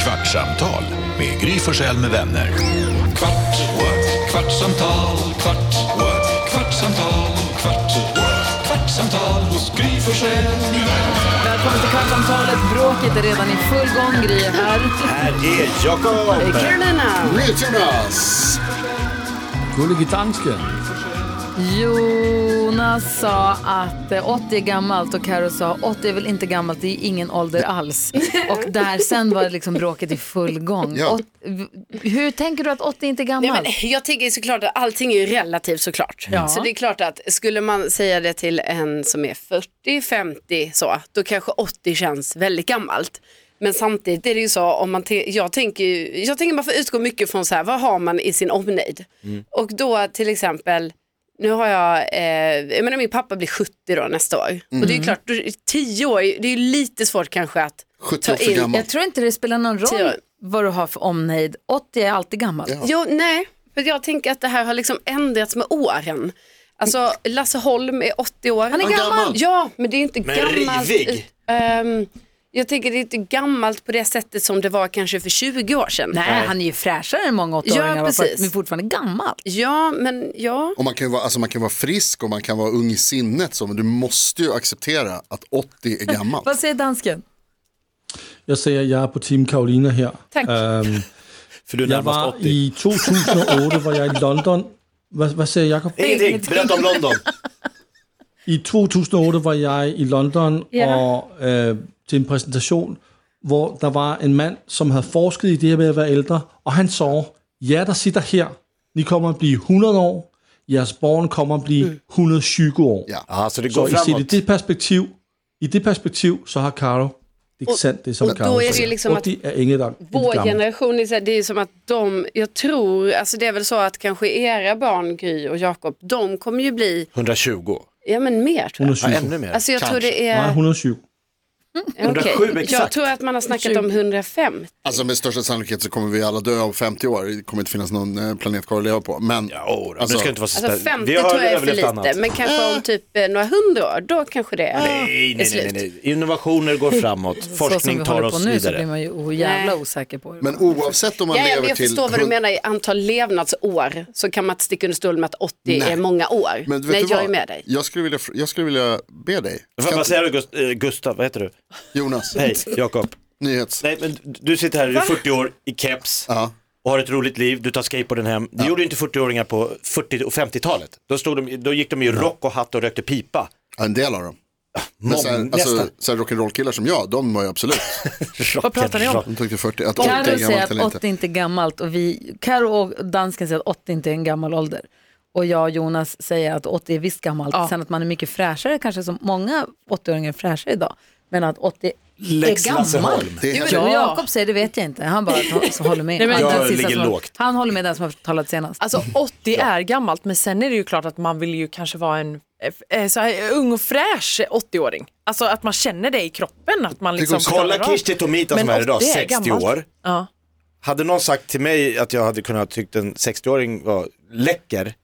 Kvartsamtal med Gry Forssell med vänner. Kvart, what? kvartsamtal, kvart, what? kvartsamtal, kvart, what? kvartsamtal hos Gry Forssell med vänner. Välkommen till Kvartsamtalet. Bråket är redan i full gång. Gry är här. Här är Jakob! Carolina. Jonas! Gullige dansken. Jonas sa att eh, 80 är gammalt och Karo sa 80 är väl inte gammalt, det är ingen ålder alls. Och där sen var liksom bråket i full gång. Ja. Åt- v- hur tänker du att 80 inte är Nej, gammalt? men jag tycker såklart att allting är ju relativt såklart. Ja. Så det är klart att skulle man säga det till en som är 40, 50 så, då kanske 80 känns väldigt gammalt. Men samtidigt är det ju så, om man te- jag, tänker, ju- jag tänker man får utgå mycket från så här, vad har man i sin omnejd? Och då till exempel, nu har jag, eh, jag menar min pappa blir 70 då nästa år. Och det är ju klart, då- 10 år, det är ju lite svårt kanske att 70 ta år för in. gammal. Jag tror inte det spelar någon Tio roll år. vad du har för omnejd. 80 är alltid gammalt. Ja. Jo, nej, för jag tänker att det här har liksom ändrats med åren. Alltså Lasse Holm är 80 år. Han är gammal. gammal. Ja, men det är inte Men gammalt. rivig. Ehm, jag tänker det är inte gammalt på det sättet som det var kanske för 20 år sedan. Nej, han är ju fräschare än många 80-åringar Ja, var, precis. men fortfarande gammal. Ja, men ja. Och man kan, ju vara, alltså man kan vara frisk och man kan vara ung i sinnet så, men du måste ju acceptera att 80 är gammalt. Vad säger dansken? Jeg siger, at jeg er på Team Carolina her. Tak. Ehm, Øhm, För du är jeg närmast var 80. i 2008, hvor jeg i London... Hvad, hvad siger Jacob? Ingenting, berätta om London. I 2008 var jeg i London Ja. og, øh, til en præsentation, hvor der var en mand, som havde forsket i det her med at være ældre, og han så, ja, der sitter her, I kommer at blive 100 år, jeres barn kommer at blive 120 år. Ja. Ja, så det Så går i, set i framåt. det perspektiv, i det perspektiv, så har Caro, det er Og- sandt, det er som og Caro då er det siger. ligesom, at 80 er ingen, der Vår gammel. generation, är så här, det är ju som att de, jag tror, alltså det är väl så att kanske era barn, Gry och Jakob, de kommer ju bli, 120. ja men mer tror jag. 120. Ja, ännu mer. Alltså jag tror Kanske. det Nej, är, 120. okej. 107 jag exakt. tror att man har snackat om 105. Alltså med största sannolikhet så kommer vi alla dö om 50 år. Det kommer inte finnas någon eh, planet kvar att leva på. Men Ja, åh, nu Alltså- ska det inte vara så Alltså spännande. 50 tror jag är för lite, men kanske om typ eh, några hundra år, då kanske det är Nej, är nej, nej, slut. nej, nej. Innovationer går framåt. så som vi Forskning tar håller på oss nu så blir vidare. man ju oh, jävla Nej. osäker på det. Men oavsett om man Ja, ja, men lever jag till... förstår vad du hund- menar i antal levnadsår så kan man inte sticka under stol med att 80 Nej. är många år. Men vet Nej, du jag vad? är med dig. Jag skulle vilja, fr- jag skulle vilja be dig. Kan Vad- Vad inte- säger du Gust- eh, Gustav? Vad heter du? Jonas, Hej, Jakob. nyhets. Nej, men du sitter här, du är 40 år i keps Ja. och har ett roligt liv. Du tar skateboarden hem. Det gjorde inte 40-åringar på 40 och 50-talet. Då, stod de, då gick de i rock och hatt och rökte pipa. Ja, En del av dem. Men Mång- så här, alltså, nästan. så här rock'n'roll-killar som jag, de var ju absolut. Vad pratar ni om? De tyckte 40, att 80 Carro är säger gammalt att eller 80 inte. inte. är gammalt och vi, Carro och dansken säger att 80 inte är en gammal ålder. Och jag och Jonas säger att 80 är visst gammalt. Sen att man är mycket fräschare, kanske som många 80-åringar är fräschare idag. Men att 80 är Lex gammalt. Lasse Holm. Det är helt Ja. Och Jakob säger det vet jag inte. Han bara tar- så håller med. men- han, Jag den sista ligger som, lågt. han håller med den som har talat senast. Alltså 80 är gammalt men sen är det ju klart att man vill ju kanske vara en eh, eh, så här, ung och fräsch 80-åring. Alltså att man känner det i kroppen. Att man Tänk liksom om- Kolla klarar av- Kirsti Tomita som Men är idag, 80 är 60 gammalt. år. Ja. Hade någon sagt till mig att jag hade kunnat tyckt en 60-åring var läcker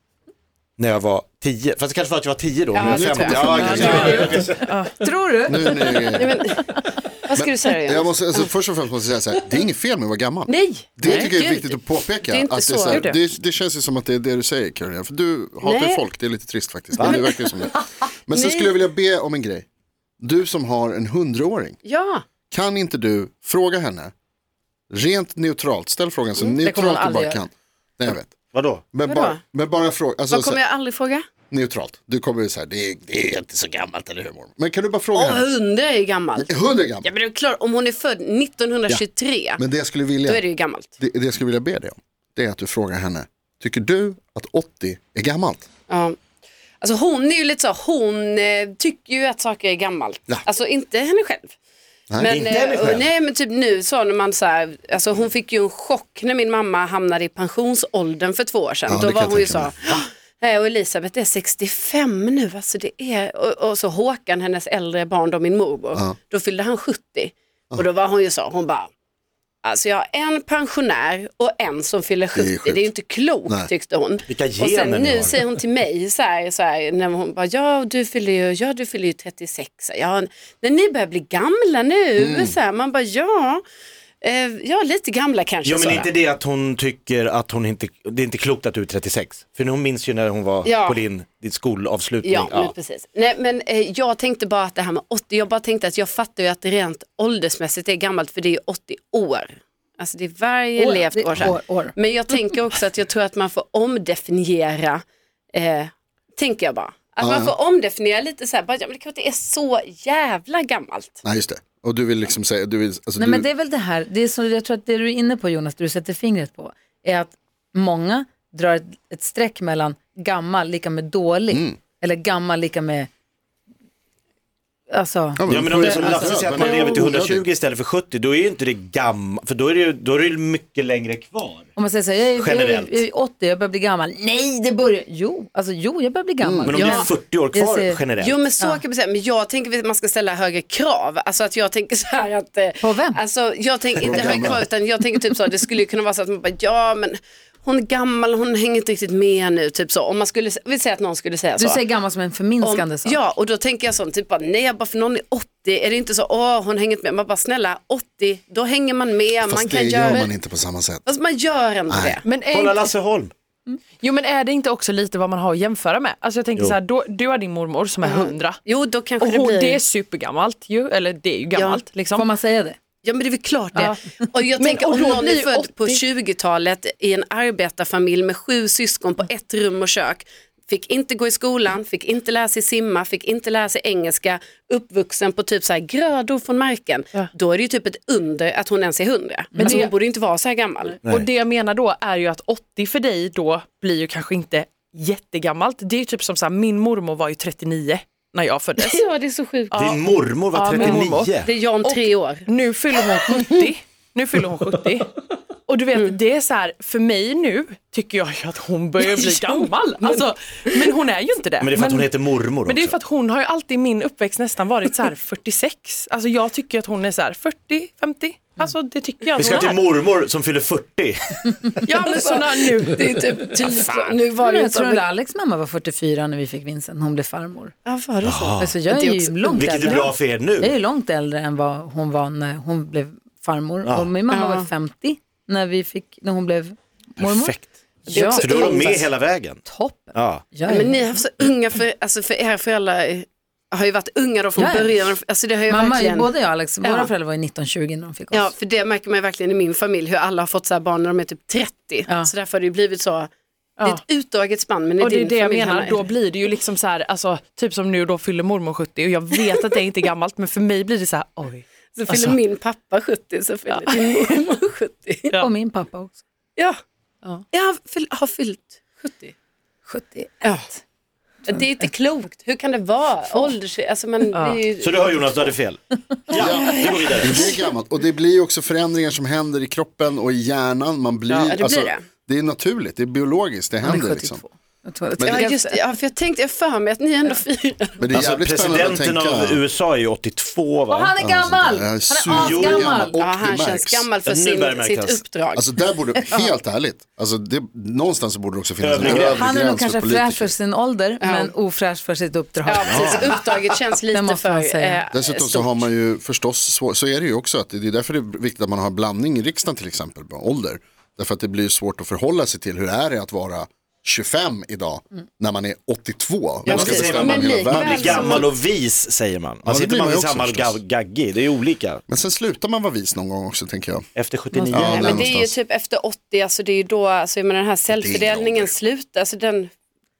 när jag var 10, fast det kanske var att jag var 10 då, nu är det jag tror 50. jag. Ja, kanske. Tror du? Nu är ni- Vad ska du säga Jag Jonas? måste, alltså, först och främst måste jag säga så här, det är inget fel med att vara gammal. Nej, Det nej, tycker jag är gud. viktigt att påpeka. Det är inte att det, är så. så här, Gjorde. det, det känns ju som att det är det du säger Karolina, för du hatar Nej. folk, det är lite trist faktiskt. Men det verkar ju som det. Men sen skulle jag vilja be om en grej. Du som har en hundraåring, Ja, kan inte du fråga henne, rent neutralt, ställ frågan Mm, så det kommer hon neutralt du bara aldrig kan. Nej jag vet. Vadå? Men, Vadå? bara, men bara fråga, alltså, vad så, kommer här, jag aldrig fråga? neutralt. Du kommer ju så här, det är, det är inte så gammalt eller hur mormor? Men kan du bara fråga Åh, henne? 100 är ju gammalt. Hundra Ja, är gammalt. men det är klart, om hon är född 1923, Men det jag skulle då vilja, är det ju gammalt. det, det jag skulle vilja be dig om, det är att du frågar henne, tycker du att 80 är gammalt? Ja. Alltså hon är ju lite så, hon eh, tycker ju att saker är gammalt. Ja. Alltså inte henne själv. Nej, men, inte eh, henne och- själv. Nej men typ nu så när man så här, alltså hon fick ju en chock när min mamma hamnade i pensionsåldern för två år sedan. Ja, det Då kan var jag hon ju så, tänka "Ah, nej och Elisabeth är 65 nu, alltså det är, och, och så Håkan, hennes äldre barn då, min morbror, Ja. då fyllde han 70. Och då var hon ju så, hon bara, alltså jag har en pensionär och en som fyller 70, det är sjukt. ju inte klokt Nej. tyckte hon. Vilka Och sen gener ni nu har. säger hon till mig så här, så här när hon bara, ja du fyller ju, ja, du Mm. fyller ju 36, ja, när ni börjar bli gamla nu, så här, man bara ja. Eh, ja, lite gamla kanske. Jo men Sara. inte det att hon tycker att hon inte, det är inte klokt att du är 36. För hon minns ju när hon var Ja. på din, din skolavslutning. Ja, men precis. Nej, men eh, jag tänkte bara att det här med 80, jag bara tänkte att jag fattar ju att det rent åldersmässigt är gammalt för det är ju 80 år. Alltså det är varje År, levt det är år, sedan. år, år. Men jag tänker också att jag tror att man får omdefiniera, eh, tänker jag bara. Att man får omdefiniera lite så här, bara, ja, men det kanske inte är så jävla gammalt. Nej, just det. Och du vill liksom säga, du vill, alltså, Nej, du, men det är väl det här, det är så, jag tror att det du är inne på Jonas, det du sätter fingret på, är att många drar ett, ett streck mellan gammal lika med dålig, eller gammal lika med, alltså, Ja, Ja men om det är som alltså, Lasse säger att man men- lever till 120 istället för 70, då är ju inte det gammalt, för då är det ju då är det ju mycket längre kvar. om man säger så här, jag är, jag, Generellt. är, jag är 80, jag börjar bli gammal. Nej, det börjar, jo, alltså jo, jag börjar bli gammal. Men om ja. det är 40 år Jag kvar ser- generellt. Jo men så kan man säga, men jag tänker att man ska ställa högre krav. Alltså att jag tänker så här att... eh, På vem? Alltså jag tänker inte högre krav utan jag tänker typ så, det skulle ju kunna vara så att man bara, ja men hon är gammal, hon hänger inte riktigt med nu, typ så. Om man skulle, vi säger att någon skulle säga så. du säger gammal som en förminskande om, sak. Ja, och då tänker jag sånt, typ bara, nej bara för någon är 80, är det inte så, åh hon hänger inte med. Man bara snälla, 80, då hänger man med, fast man kan det Alltså, göra... gör man inte på samma sätt. Fast man gör ändå det. Men är, Kolla inte- Lasse Holm. jo, men är det inte också lite vad man har att jämföra med? Alltså jag tänker så här, då, du har din mormor som är 100. Jo, då kanske Och det hon, blir... det är supergammalt ju, eller det är ju gammalt liksom. Får man säga det? Ja men det är väl klart det. Ja. Och jag Men- tänker och om då någon blir är ju född på 80. 20-talet i en arbetarfamilj med sju syskon på ett rum och kök. Fick inte gå i skolan, fick inte lära sig simma, fick inte lära sig engelska, uppvuxen på typ så här grödor från marken. Ja. Då är det ju typ ett under att hon ens är 100. Men alltså, det- hon borde ju inte vara så här gammal. Och det jag menar då är ju att 80 för dig då blir ju kanske inte jättegammalt. Det är ju typ som så här, min mormor var ju 39 när jag föddes. Ja det är så sjukt. Din mormor var Ja, min 39. mormor. Det är jag om tre år. Nu fyller hon 70. Nu fyller hon 70. Och du vet, Mm. det är så här, för mig nu tycker jag ju att hon börjar bli gammal. Alltså, men hon är ju inte det. Men det är för att hon heter mormor Men det är också. för att hon har ju alltid i min uppväxt nästan varit så här 46. Alltså jag tycker att hon är så här 40, 50. Alltså det tycker jag Mm. Vi att ska hon till är. mormor som fyller 40. Ja men sådana nu. Det är typ, typ nu var det Men ju jag så. tror att Alex mamma var 44 när vi fick Vincent, hon blev farmor. Ja, var det så? Alltså jag är, Det är ju också- långt Vilket är äldre. bra för er nu. Jag är ju långt äldre än vad hon var när hon blev farmor. Och min mamma var 50 när, vi fick, när hon blev mormor. Perfekt. är Ja, också- För då är de med Hoppas. hela vägen. toppen. Ja. Ja, Men ja. ni har haft så unga, för, alltså för era föräldrar har ju varit unga då från Ja, ja. början. Alltså det har ju Mamma, verkligen... både jag och Alex, våra Ja. föräldrar var ju 19-20 när de fick oss. Ja, för det märker man ju verkligen i min familj hur alla har fått så här barn när de är typ 30. Ja. Så därför har det ju blivit så, det är Ja. ett utdraget spann men i Och det är din det jag familj menar, Hanna, då blir det ju liksom så här, alltså, typ som nu då fyller mormor 70 och jag vet att det är inte gammalt men för mig blir det så här, oj. så fyller Alltså. min pappa 70 så fyller din mormor 70. Ja. Och min pappa också. Ja, Ja. jag har, fyll, har fyllt 70. 70. Ja. Det är inte klokt, hur kan det vara? Ålders... Alltså, men det är ju... Så du hör Jonas, du hade fel. Ja, vi går vidare. Men Det är gammalt och det blir ju också förändringar som händer i kroppen och i hjärnan. Man blir, alltså, det blir det. det är naturligt, det är biologiskt, det Han är händer 72. liksom. Jag tror att- Ja, just det. Ja, för jag tänkte, jag för mig att ni är ändå fyra. Men det är Alltså jävligt spännande att presidenten tänka. av USA är ju 82 Och han va? är gammal! Han är asgammal! supergammal. Ja, Och det han märks. känns gammal för Ja, nu sin, börjar det sitt märkas. uppdrag. Alltså där borde, helt ärligt, alltså det, någonstans så borde det också finnas Övre en gräns. övre Han är nog gräns kanske för fräsch politiker. för sin ålder, men ofräsch för sitt uppdrag. Ja, precis. Uppdraget känns Det lite måste man för... eh, säga. Dessutom så stort. har man ju förstås, svår, så är det ju också, att det är därför det är viktigt att man har blandning i riksdagen till exempel, på ålder. Därför att det blir svårt att förhålla sig till hur är det att vara 25 idag när man är 82. Man ska precis. bestämma Men över hela likväl världen. så- Gammal och vis säger man. Man det sitter blir man man vid ju samma också förstås. gag- gaggig, det är ju olika. Men sen slutar man vara vis någon gång också tänker jag. Efter 79. Ja, Nej, men det är ju någonstans. typ efter 80, alltså det är ju då, alltså jag menar den här cellfördelningen ålder. slutar, alltså den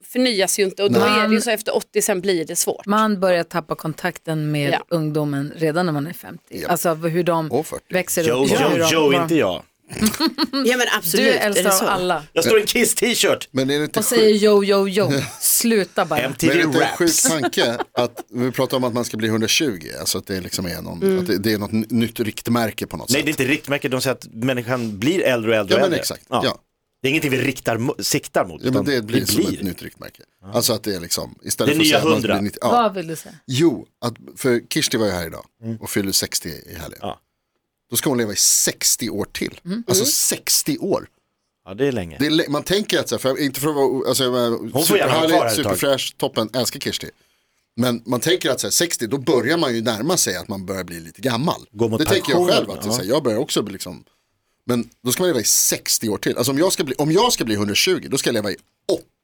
förnyas ju inte och då är det ju så efter 80 sen blir det svårt. Man börjar tappa kontakten med Ja. ungdomen redan när man är 50. Alltså hur de Och 40. växer Joe, upp. hur Joe, de- Joe, vad de- inte jag. Ja men Du absolut, är äldst av alla Jag står i en Kiss-t-shirt. Men är det inte och säger jo, jo, jo. Sluta bara. Men MTV är det inte en Raps. sjuk tanke att vi pratar om att man ska bli 120, alltså att det liksom är, någon, Mm. att det, det är något n- nytt riktmärke på något Nej, sätt. det är inte riktmärket. De säger att människan blir äldre och äldre. ja och men äldre. exakt, ja. Ja. Det är ingenting vi riktar, mo- siktar mot. men utan det blir som ett blir. nytt riktmärke. Alltså att det är liksom, istället Det för nya att säga att man 100. blir 90 ja. Vad vill du säga? Jo, att, för Kirsti var ju här idag och fyller 60 i helgen. Ja. Då ska hon leva i 60 år till. Alltså 60 år. Ja, det är länge. Det är, lä- man tänker att, så här, för, inte för att vara, alltså, jag menar, får gärna vara kvar här ett tag. superfräsch, toppen, älskar Kirsti. Men man tänker att så här, 60, då börjar man ju närma sig att man börjar bli lite gammal. Gå mot det tänker jag pension, själv, att det är så här, jag börjar också bli liksom, men då ska man leva i 60 år till. Alltså om jag ska bli, om jag ska bli 120, då ska jag leva i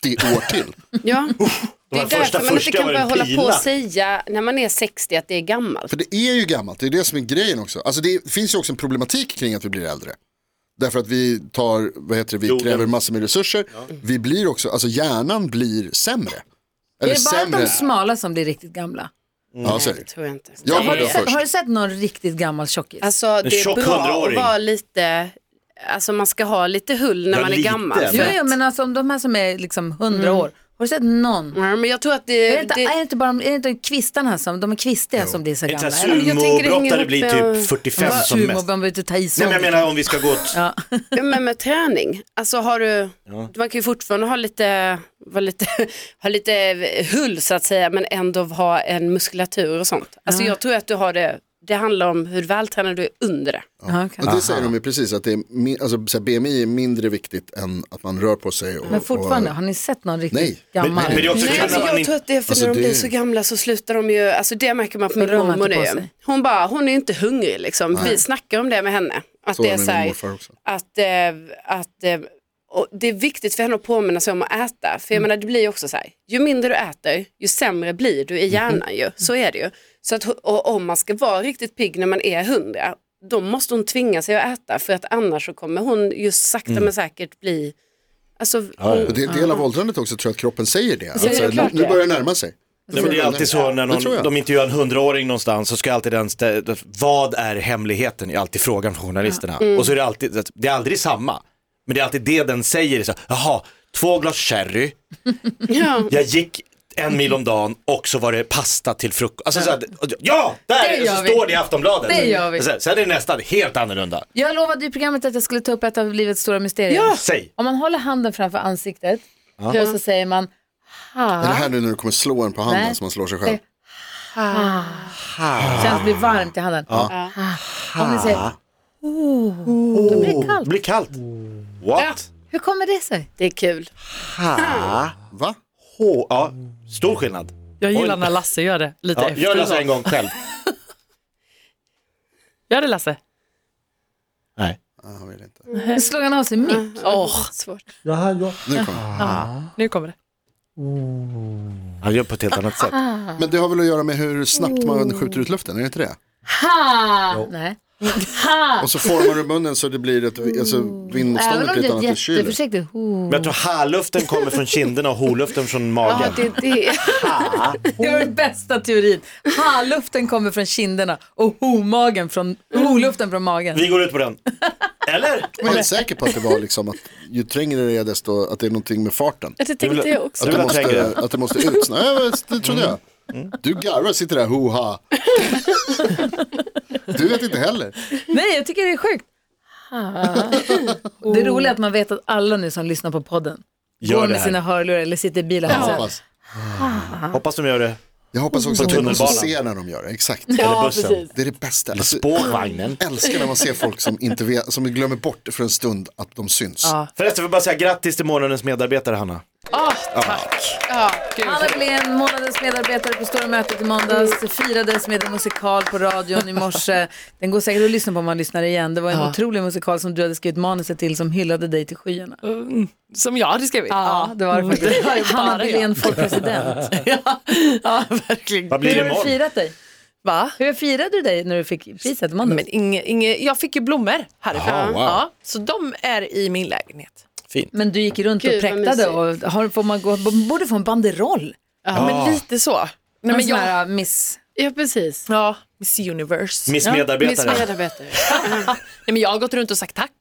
80 år till. Ja. Det är första därför man inte första kan var börja en hålla på och pila. säga när man är 60 att det är gammalt. För det är ju gammalt, det är det som är grejen också. Alltså det finns ju också en problematik kring att vi blir äldre. Därför att vi tar, vad heter det, vi Jorden. kräver massor med resurser. Vi blir också, alltså hjärnan blir sämre. Det Eller är bara sämre. de smala som blir riktigt gamla. Ja, så är det. Det tror jag inte. Jag var Har det du, sett, först. har du sett någon riktigt gammal tjockis? Alltså det är tjock bra att hundraåring. vara lite, alltså man ska ha lite hull när Ja, man är lite. gammal. Ja, jo, För jo, att- men alltså om de här som är liksom 100 år, har du sett någon? Ja, men jag tror att Är det det, inte, det, är det inte bara de- är det inte kvistarna som, de är kvistiga som blir så Inte gamla? en eller? jag tänker det hänger sumobrottare ihop blir med- typ 45 Vad som sur mest. man behöver inte ta i så Nej men jag menar om vi ska gå åt, Ja. ja, men med träning. Alltså har du, man kan ju fortfarande ha lite, vara lite, ha lite hull så att säga, men ändå ha en muskulatur och sånt. Alltså jag tror att du har det, det handlar om hur vältränad du är under det. Ja, okej. Alltså, Men det säger de ju precis, att det är, mi- alltså, så här, BMI är mindre viktigt än att man rör på sig. Och, Men fortfarande, Och, har ni sett någon riktigt Nej. gammal? men det är också Nej, kan alltså, man jag inte- tror att det är för Alltså, när de det- blir så gamla så slutar de ju, alltså det märker man på min rör man mormor inte på nu. sig. Hon bara, hon är inte hungrig liksom. Vi snackar om det med henne. Att så det är är det så med min här, morfar också. att, eh, att eh, och det är viktigt för henne att påminna sig om att äta. För jag menar det blir ju också så här, ju mindre du äter, ju sämre blir du i hjärnan ju. Så är det ju. Så att och om man ska vara riktigt pigg när man är hundra, då måste hon tvinga sig att äta. För att annars så kommer hon just sakta men säkert bli, alltså, hon, Och det är en del av åldrandet också, tror jag att kroppen säger det. Att, det är så här, klart nu, nu det. börjar det närma sig. Nej, men det är alltid så när Det tror någon, jag. de intervjuar en hundraåring någonstans så ska alltid den, stä- vad är hemligheten? är alltid frågan från journalisterna. Mm. Och så är det alltid, det är aldrig samma. Men det är alltid det den säger, så, här, jaha, två glas sherry, ja. jag gick en mil om dagen och så var det pasta till frukost. Alltså, så här, och- ja, där! Det och så gör vi. står det i Aftonbladet. Det gör vi. Så här, Sen är det nästan helt annorlunda. Jag lovade i programmet att jag skulle ta upp ett av livets stora mysterier. Säg. Om man håller handen framför ansiktet och så säger man Är det ha, här nu när du kommer slå en på handen Nej. som man slår sig själv? Nej. känns det blir varmt i handen. Ha. Om ni säger oh, då blir det Det kallt. blir kallt. What? Hur kommer det sig? det är kul. Va? H- ja, stor skillnad. Jag gillar Oj. när Lasse gör det lite Ja, efter. gör det alltså en gång själv. Gör det Lasse. Nej. Ah, jag vill inte. Nu slog han av sig mitt. Åh, svårt. Jeg har gjort Nu kommer. det. Ah. Nu kommer det. Han gör på ett helt annat sätt. Men det har väl att göra med hur snabbt man skjuter ut luften, är det inte det? Ha! Nej. Ha! Och så formar du munnen så det blir ett alltså, Även vindmotståndet om blir det är ett annat än kylen. jätteförsiktigt. Oh. Men jag tror härluften kommer från kinderna och holuften från Ja, magen. det, det. Det var den bästa teorin. Ha-luften kommer från kinderna och ho-magen från, ho-luften från magen. Vi går ut på den. Eller? Jag var helt säker på att det var liksom att ju trängre det är desto att det är någonting med farten. det tänkte jag också. Att Du det var måste, trängre. att det måste ut. Nej, men det trodde jag. Du garvar, sitter där, hoha. Du vet inte heller. Nej, jag tycker det är sjukt. Ha. Det roliga är att man vet att alla nu som lyssnar på podden Gör går det med här. sina hörlurar eller sitter i bilen. Jag och säger, hoppas, Hoppas de gör det. jag hoppas också att det är någon som ser tunnelbanan. när de gör det. Exakt. Eller bussen. Det är det bästa. Eller Alltså, spårvagnen. jag älskar när man ser folk som, inte vet, som glömmer bort för en stund att de syns. Förresten får jag bara säga grattis till månadens medarbetare Hanna. Ah, Hanna Wilén, månadens medarbetare på Stora mötet i måndags, firades med en musikal på radion i morse. Den går säkert att lyssna på om man lyssnar igen. Det var en otrolig musikal som du hade skrivit manuset till som hyllade dig till skyarna. Som jag hade skrivit. Ja, det var det faktiskt. var ju bara Hanna det. Wilén får president. ja. ja, verkligen. Vad blir Hur det har du imorgon? firat dig? Va? Hur firade du dig när du fick priset i måndags? Men inge, inge, jag fick ju blommor härifrån. Jaha, wow. ja, så de är i min lägenhet. Men du gick runt Gud, och vad präktade och har, får man gå, borde få en banderoll. Ja, men lite så. Nej, En men sån jag, här äh, miss. Ja, precis. ja, Miss Universe. Miss Miss medarbetare. medarbetare. Nej, men jag har gått runt och sagt tack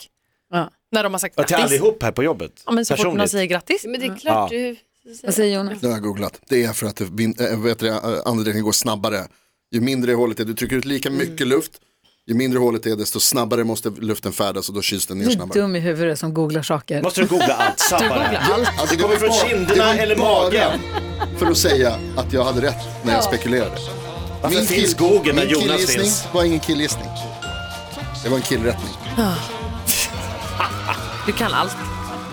Ja. när de har sagt Ja, till grattis. allihop här på jobbet. Ja, men så fort någon Personligt. säger grattis. Men det är klart Ja. du... Vad säger Jonas? Det har jag googlat. Det är för att det vin- äh, vet du, äh, andedräkten går snabbare. Ju mindre hålet är, du trycker ut lika Mm. mycket luft. Ju mindre hålet är, desto snabbare måste luften färdas och då kyls den ner Du är snabbare. dum i huvudet som googlar saker. Måste du googla allt? Sabba det här. Alltså, det Kommer var från bara- kinderna det var eller bara magen? För att säga att jag hade rätt när jag spekulerade. Varför finns Google när min Jonas killgissning finns? var ingen killgissning. Det var en killrättning. Du kan allt.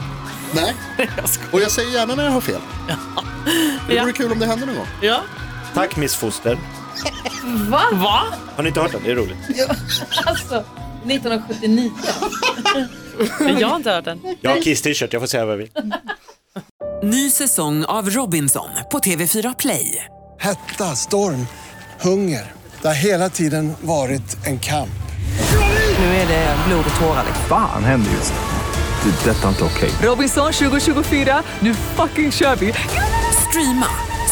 Nej, och jag säger gärna när jag har fel. Det Ja. vore kul om det hände någon gång. Ja. Tack Miss Foster. Va? Har ni inte hört den? Det är roligt. Alltså, 1979. Jag har inte hört den. Jag har Kiss t-shirt, jag får säga vad jag vill. Ny säsong av Robinson på TV4 Play. Hetta, storm, hunger. Det har hela tiden varit en kamp. Nu är det blod och tårar. liksom. Fan händer just nu. Det. är Detta är inte okej. Robinson 2024, nu fucking kör vi! Streama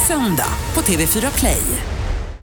söndag på TV4 Play.